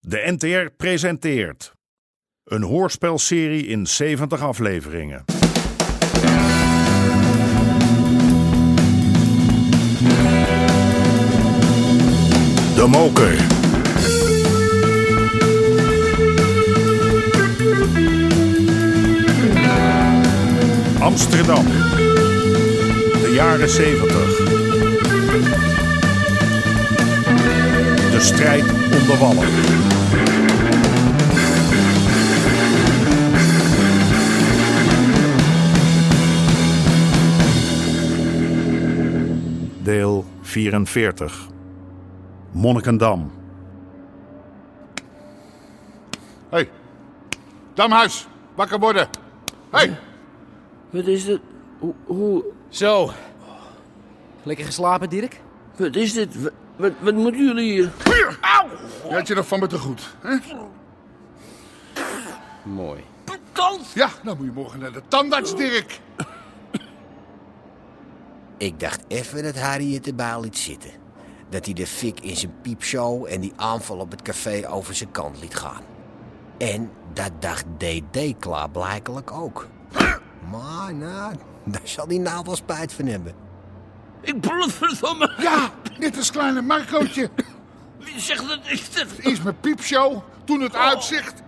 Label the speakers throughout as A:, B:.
A: De NTR presenteert een hoorspelserie in 70 afleveringen. De Moker. Amsterdam. De jaren 70. De strijd om de wallen. Deel 44. Monnikendam.
B: Hé, hey. Damhuis, wakker worden. Hé, hey.
C: Wat is dit? Hoe, hoe-
D: Zo. Lekker geslapen, Dirk?
C: wat is dit? Wat, wat, wat moeten jullie hier?
B: je had je nog van me te goed. Hè?
D: Mooi.
B: Ja, nou moet je morgen naar de tandarts, Dirk.
E: Ik dacht even dat Harry het erbij liet zitten. Dat hij de fik in zijn piepshow en die aanval op het café over zijn kant liet gaan. En dat dacht DD klaarblijkelijk ook. Maar nou, daar zal hij nou wel spijt van hebben.
C: Ik me.
B: Ja, net als kleine Marcootje.
C: Wie zegt dat ik dit?
B: Eerst mijn piepshow, toen het uitzicht.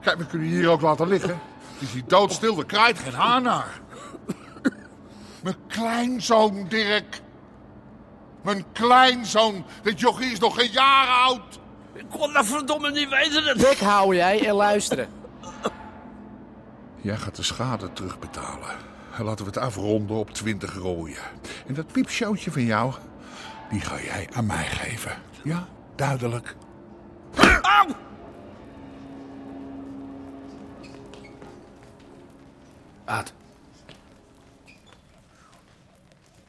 B: Kijk, we kunnen je hier ook laten liggen. Het is hier doodstil, er kraait geen haar naar. Mijn kleinzoon, Dirk. Mijn kleinzoon. Dit jochie is nog geen jaar oud.
C: Ik kon dat verdomme niet weten. Dat...
D: Bek hou jij en luisteren.
B: Jij gaat de schade terugbetalen. Laten we het afronden op 20 rooien. En dat piepshowtje van jou, die ga jij aan mij geven. Ja, duidelijk.
D: Aad.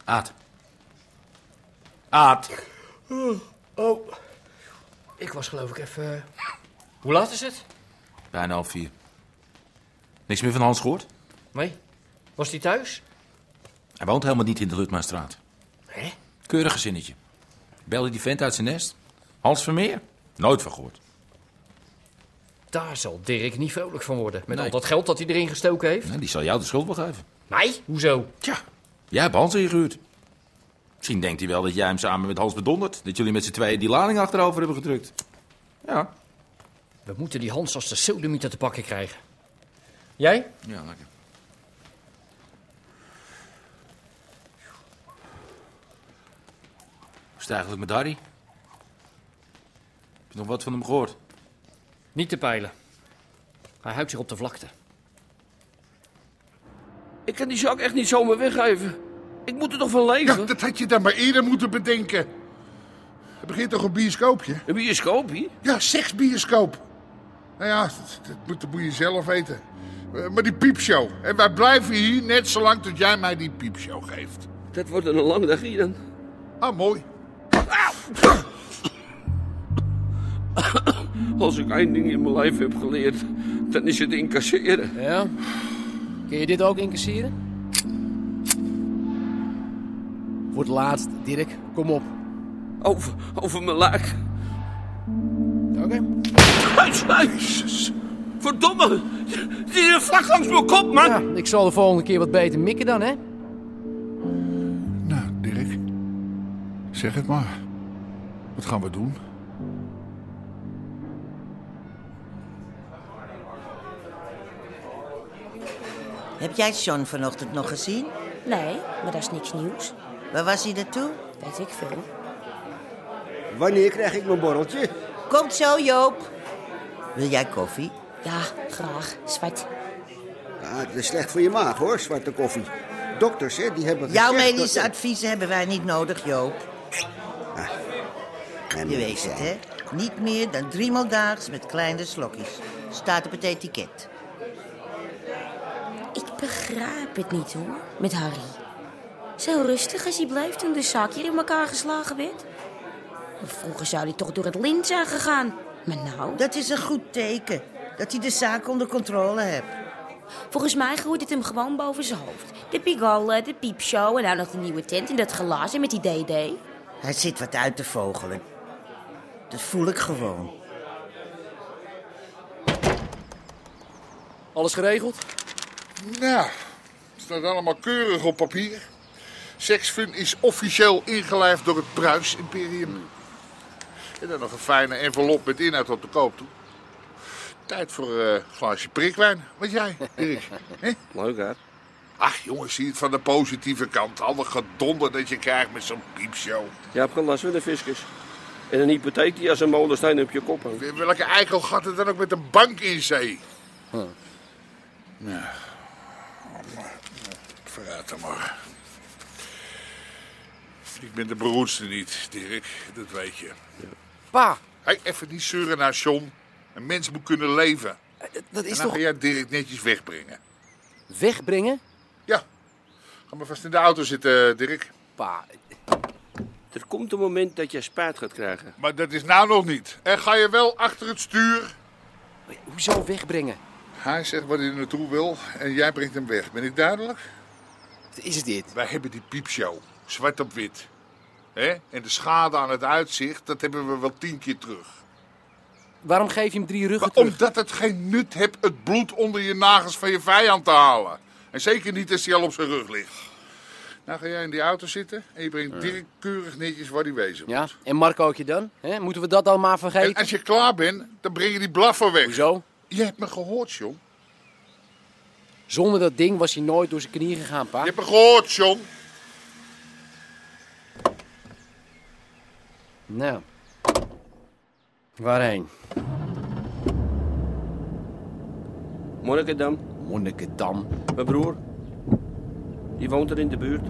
D: Aad. Aad. Oh. Ik was geloof ik
C: eh,
D: even... Hoe laat is het?
F: Bijna half vier. Niks meer van Hans gehoord?
D: Nee. Was die thuis?
F: Hij woont helemaal niet in de Lutmaanstraat.
D: Hé?
F: Keurig gezinnetje. Belde die vent uit zijn nest? Hans Vermeer? Nooit van gehoord.
D: Daar zal Dirk niet vrolijk van worden. Met
F: Nee.
D: al dat geld dat hij erin gestoken heeft.
F: Nou, die zal jou de schuld wel geven.
D: Nee? Hoezo?
F: Tja, jij hebt Hans ingehuurd. Misschien denkt hij wel dat jij hem samen met Hans bedondert. Dat jullie met z'n tweeën die lading achterover hebben gedrukt. Ja.
D: We moeten die Hans als de sodemieter te pakken krijgen. Jij?
F: Ja, lekker. Hoe is het eigenlijk met Harry? Heb je nog wat van hem gehoord?
D: Niet te peilen. Hij huipt zich op de vlakte.
C: Ik kan die zak echt niet zomaar weggeven. Ik moet er toch van
B: Ja,
C: leven?
B: dat had je dan maar eerder moeten bedenken. Er begint toch een bioscoopje?
C: Een bioscoopie?
B: Ja, seksbioscoop. Nou ja, dat, dat moet, dat moet je zelf weten. Eh, Maar die piepshow. En wij blijven hier net zolang tot jij mij die piepshow geeft.
C: Dat wordt een lange dag hier dan.
B: Ah, mooi.
C: Als ik één ding in mijn lijf heb geleerd, dan is het incasseren.
D: Ja? Kun je dit ook incasseren? Wordt laatst, Dirk. Kom op.
C: Over, over mijn lijk.
D: Oké.
C: Jezus. Verdomme. Die is vlak langs mijn kop, man.
D: Ja, ik zal de volgende keer wat beter mikken dan, hè?
B: Nou, Dirk. Zeg het maar. Wat gaan we doen?
G: Heb jij John vanochtend nog gezien?
H: Nee, maar dat is niks nieuws.
G: Waar was hij naartoe?
H: Weet ik veel.
I: Wanneer krijg ik mijn borreltje?
G: Komt zo, Joop. Wil jij koffie?
H: Ja, graag. Zwart.
I: Ah, het is slecht voor je maag hoor, zwarte koffie. Dokters, hè, die hebben
G: Jouw
I: gezegd
G: medische
I: dat-
G: adviezen hebben wij niet nodig, Joop.
I: Nee,
G: Je
I: moet ik
G: weet het,
I: zeggen.
G: hè? Niet meer dan driemaal daags met kleine slokjes. Staat op het etiket.
H: Ik begrijp het niet hoor, met Harry. Zo rustig als hij bleef toen de zaak hier in elkaar geslagen werd. Vroeger zou hij toch door het lint zijn gegaan. Maar nou,
G: Dat is een goed teken. Dat hij de zaak onder controle hebt.
H: volgens mij groeit het hem gewoon boven zijn hoofd. De pigalle, de piepshow en nou nog de nieuwe tent en dat glazen met die DD.
G: Hij zit wat uit te vogelen. Dat voel ik gewoon.
D: Alles geregeld?
B: Nou, staat allemaal keurig op papier. Sexfun is officieel ingelijfd door het Pruis Imperium. En dan nog een fijne envelop met inhoud op de koop toe. Tijd voor eh, een glaasje prikwijn. Wat jij, Erik? Hè?
J: Leuk hè?
B: Ach jongens, zie het van de positieve kant. Al dat gedonder dat je krijgt met zo'n piepshow.
J: Je hebt geen last van de fiscus. En een hypotheek die als een molensteen op je kop hangt.
B: Welke eikel gaat er dan ook met een bank in zee?
J: Huh.
B: Nou, vooruit dan maar. Ik ben de beroerdste niet, Dirk. Dat weet je.
D: Pa,
B: Hey, even niet zeuren naar John. Een mens moet kunnen leven.
D: eh, dat
B: en
D: is
B: dan
D: toch
B: ga jij Dirk netjes wegbrengen.
D: wegbrengen?
B: Ga maar vast in de auto zitten, eh, Dirk.
D: Pa, eh,
J: Er komt een moment dat je spijt gaat krijgen.
B: Maar dat is nou nog niet. En ga je wel achter het stuur?
D: hoezo wegbrengen?
B: Hij zegt wat hij er naartoe wil en jij brengt hem weg. Ben ik duidelijk?
D: Wat is dit?
B: Wij hebben die piepshow, zwart op wit. hè? En de schade aan het uitzicht, dat hebben we wel tien keer terug.
D: Waarom geef je hem drie ruggen
B: Maar
D: terug?
B: omdat het geen nut hebt het bloed onder je nagels van je vijand te halen. En zeker niet als hij al op zijn rug ligt. Nou ga jij in die auto zitten en je brengt Dirk keurig netjes waar hij wezen moet.
D: Ja, en Marcootje dan? Hè? Moeten we dat dan maar
B: En
D: vergeten?
B: als je klaar bent, dan breng je die blaffer weg.
D: Hoezo?
B: Je hebt me gehoord, John.
D: Zonder dat ding was hij nooit door zijn knieën gegaan, pa.
B: Je hebt me gehoord, John.
D: Nou. Waarheen?
J: Morgen dan,
D: Monnikendam.
J: mijn broer. Die woont er in de buurt.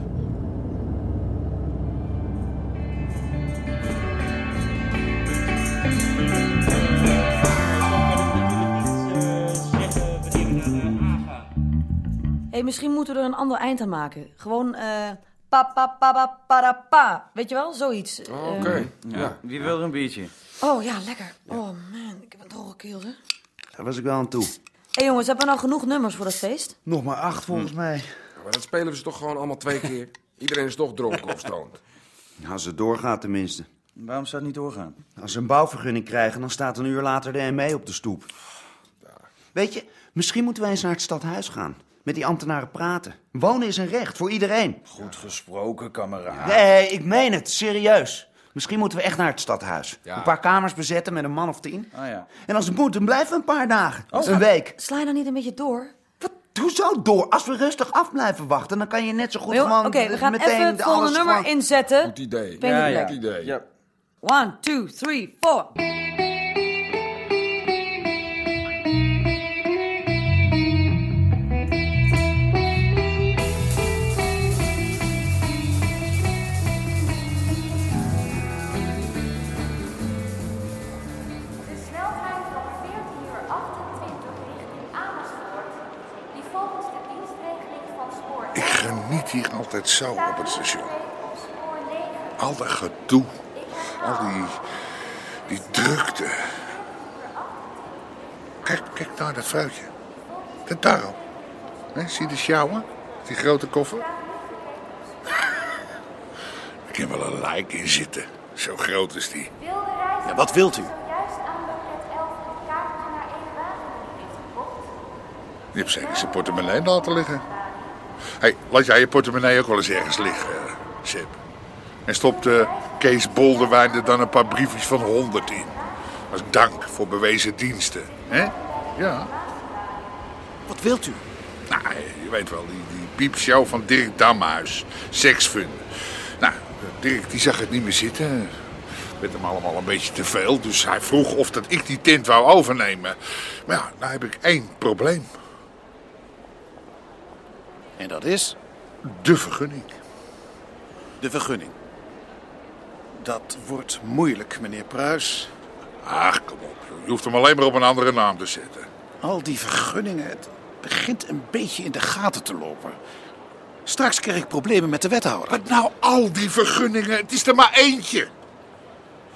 K: Hé, misschien moeten we er een ander eind aan maken. Gewoon eh pa pa pa pa para pa. Weet je wel? Zoiets. Eh,
L: Ja. Wie wil er een biertje?
K: oh ja, lekker. Oh man, ik heb een droge keel zeg. Hé
L: Daar was ik wel aan toe.
K: jongens, hebben we nou genoeg nummers voor dat feest?
L: Nog maar acht volgens mij.
M: Maar dat spelen ze toch gewoon allemaal twee keer? Iedereen is toch dronken of stoned?
L: Als het doorgaat tenminste.
M: Waarom zou het niet doorgaan?
L: Als ze een bouwvergunning krijgen, dan staat een uur later de ME op de stoep. Weet je, misschien moeten wij eens naar het stadhuis gaan. Met die ambtenaren praten. Wonen is een recht voor iedereen.
M: Goed gesproken, kameraad.
L: Nee, ik meen het. Serieus. Misschien moeten we echt naar het stadhuis. Een paar kamers bezetten met een man of tien.
M: Ah ja.
L: En als het moet, dan blijven we een paar dagen. Dus
K: Oh.
L: Een week.
K: Sla je dan niet een beetje door?
L: Hoezo door? Als we rustig af blijven wachten, dan kan je net zo goed
K: Maar joh,
L: gewoon
K: Oké, we gaan
L: meteen
K: even het
L: de
K: volgende
L: alles
K: nummer
L: gewoon-
K: inzetten.
M: Goed idee.
K: Ben je Ja, blij? ja.
M: Goed idee.
K: One, two, three, four.
N: De snelheid van 14 uur 28 richting Amersfoort, die volgens de dienstregeling van spoor
B: Ik geniet hier altijd zo op het station. Al dat gedoe. Al die, die drukte. Kijk, kijk naar dat vrouwtje. Dat daarom. Hè, zie je de sjouwer? Die grote koffer? Ik heb wel een lijk in zitten. Zo groot is die.
N: Ja,
B: wat wilt u?
N: juist aan loket 11 een kaartje naar Erewagen heeft geboekt.
B: Die heeft zeker zijn portemonnee laten liggen. Hé, hey, laat jij je portemonnee ook wel eens ergens liggen, eh, Sip. En stopte Kees Bolderwijn er dan een paar briefjes van 100 in. Als dank voor bewezen diensten. Hè? Ja.
L: Wat wilt u?
B: Nou, je weet wel, die, die piepshow van Dirk Damhuis. Seksfun. Nou, Dirk die zag het niet meer zitten. Met hem allemaal een beetje te veel. Dus hij vroeg of dat ik die tent wou overnemen. Maar ja, nou heb ik één probleem.
O: En dat is?
B: De vergunning.
O: De vergunning. Dat wordt moeilijk, meneer Pruis.
B: Ach, kom op. joh. Je hoeft hem alleen maar op een andere naam te zetten.
O: Al die vergunningen, het begint een beetje in de gaten te lopen. Straks krijg ik problemen met de wethouder.
B: Wat nou al die vergunningen? Het is er maar eentje.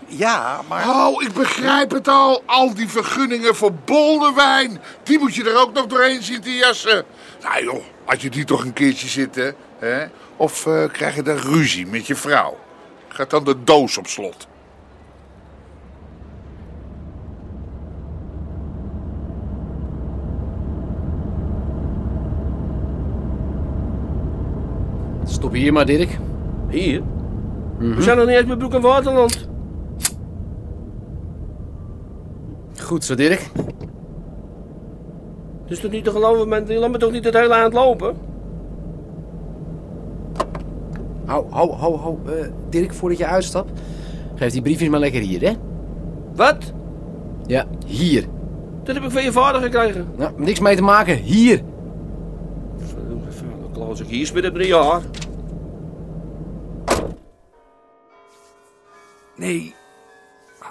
O: Ja, maar...
B: Oh, ik begrijp het al. Al die vergunningen voor Boldewijn. Die moet je er ook nog doorheen zien te jassen. Nou joh, had je die toch een keertje zitten, hè? Of eh, krijg je daar ruzie met je vrouw? Gaat dan de doos op slot.
D: Stop hier maar, Dirk.
P: Hier? We zijn nog niet eens bij Broek en Waterland.
D: Goed zo, Dirk.
P: Het Dus is toch niet te geloven, man. Je laat me toch niet het hele eind lopen?
D: Hou, hou, hou, hou. eh, Dirk, voordat je uitstapt, geef die briefjes maar lekker hier, hè?
P: Wat?
D: Ja, hier.
P: Dat heb ik van je vader gekregen.
D: Nou, niks mee te maken. Hier.
P: Dan kloos ik hier binnen drie jaar.
Q: Nee,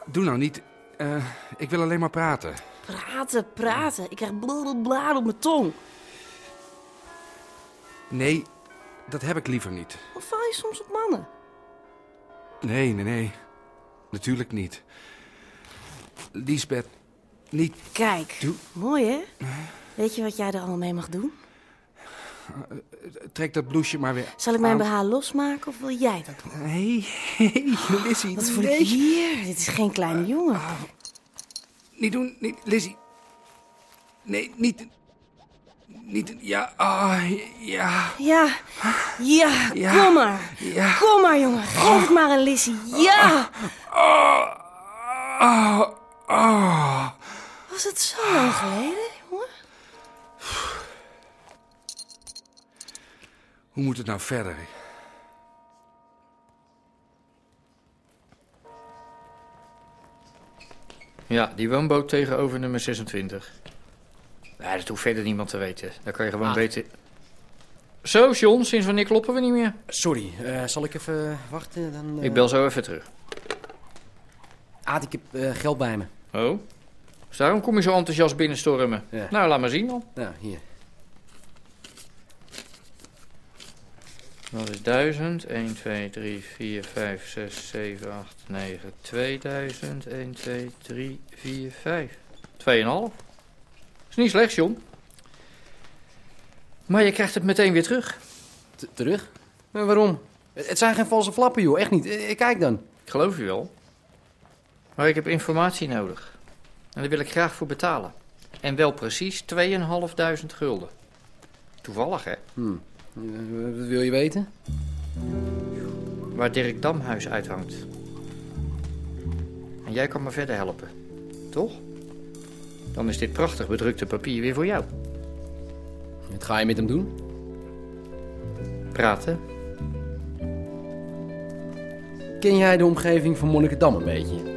Q: doe nou niet. Eh, ik wil alleen maar praten.
H: Praten, praten. Ik krijg blablabla op mijn tong.
Q: Nee, dat heb ik liever niet.
H: Wat val je soms op mannen?
Q: Nee, nee, nee. Natuurlijk niet. Liesbeth, niet.
H: Kijk,
Q: Doe-
H: mooi hè? Weet je wat jij er allemaal mee mag doen?
Q: Trek dat bloesje maar weer.
H: Zal ik mijn
Q: aan.
H: BH losmaken of wil jij dat doen?
Q: Nee, nee, Lizzie.
H: Wat voor
Q: nee.
H: hier? Dit is geen kleine jongen.
Q: Niet doen, niet, Lizzie. Nee, niet. Niet. Ja, ah, ja.
H: Ja, ja, kom maar. Kom maar, jongen. Geef het maar aan Lizzie. Ja!
Q: Ah, ah.
H: Was het zo lang geleden, jongen?
Q: Hoe moet het nou verder?
C: Ja, die woonboot tegenover nummer 26. Nee, dat hoeft verder niemand te weten. Daar kan je gewoon
D: Ah.
C: beter... Zo, John, sinds wanneer kloppen we niet meer?
D: Sorry, eh, zal ik even wachten? Dan, eh,
C: Ik bel zo even terug.
D: Aad, ik heb eh, geld bij me.
C: Oh? Dus daarom kom je zo enthousiast binnenstormen.
D: Ja.
C: Nou, laat maar zien dan.
D: Nou, hier.
C: Dat is 1000. 1, 2, 3, 4, 5, 6, 7, 8, 9, 2000. 1, 2, 3, 4, 5. 2,5. Is niet slecht, John. Maar je krijgt het meteen weer terug.
D: terug? waarom? Het het zijn geen valse flappen, joh. Echt niet. Eh, eh, Kijk dan.
C: Ik geloof je wel. Maar ik heb informatie nodig. En daar wil ik graag voor betalen. En wel precies 2.500 gulden. Toevallig, hè?
D: Hm. Eh, Wat wil je weten?
C: Waar Dirk Damhuis uithangt. En jij kan me verder helpen. Toch? Dan is dit prachtig bedrukte papier weer voor jou.
D: Wat ga je met hem doen?
C: Praten.
D: Ken jij de omgeving van Monnikendam een beetje?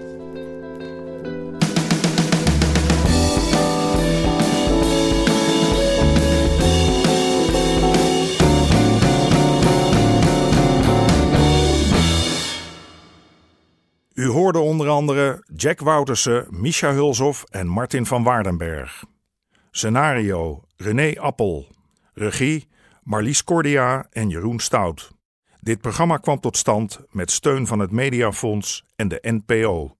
A: U hoorde onder andere Jack Woutersen, Misha Hulshoff en Martin van Waardenberg. Scenario René Appel. Regie Marlies Cordia en Jeroen Stout. Dit programma kwam tot stand met steun van het Mediafonds en de NPO.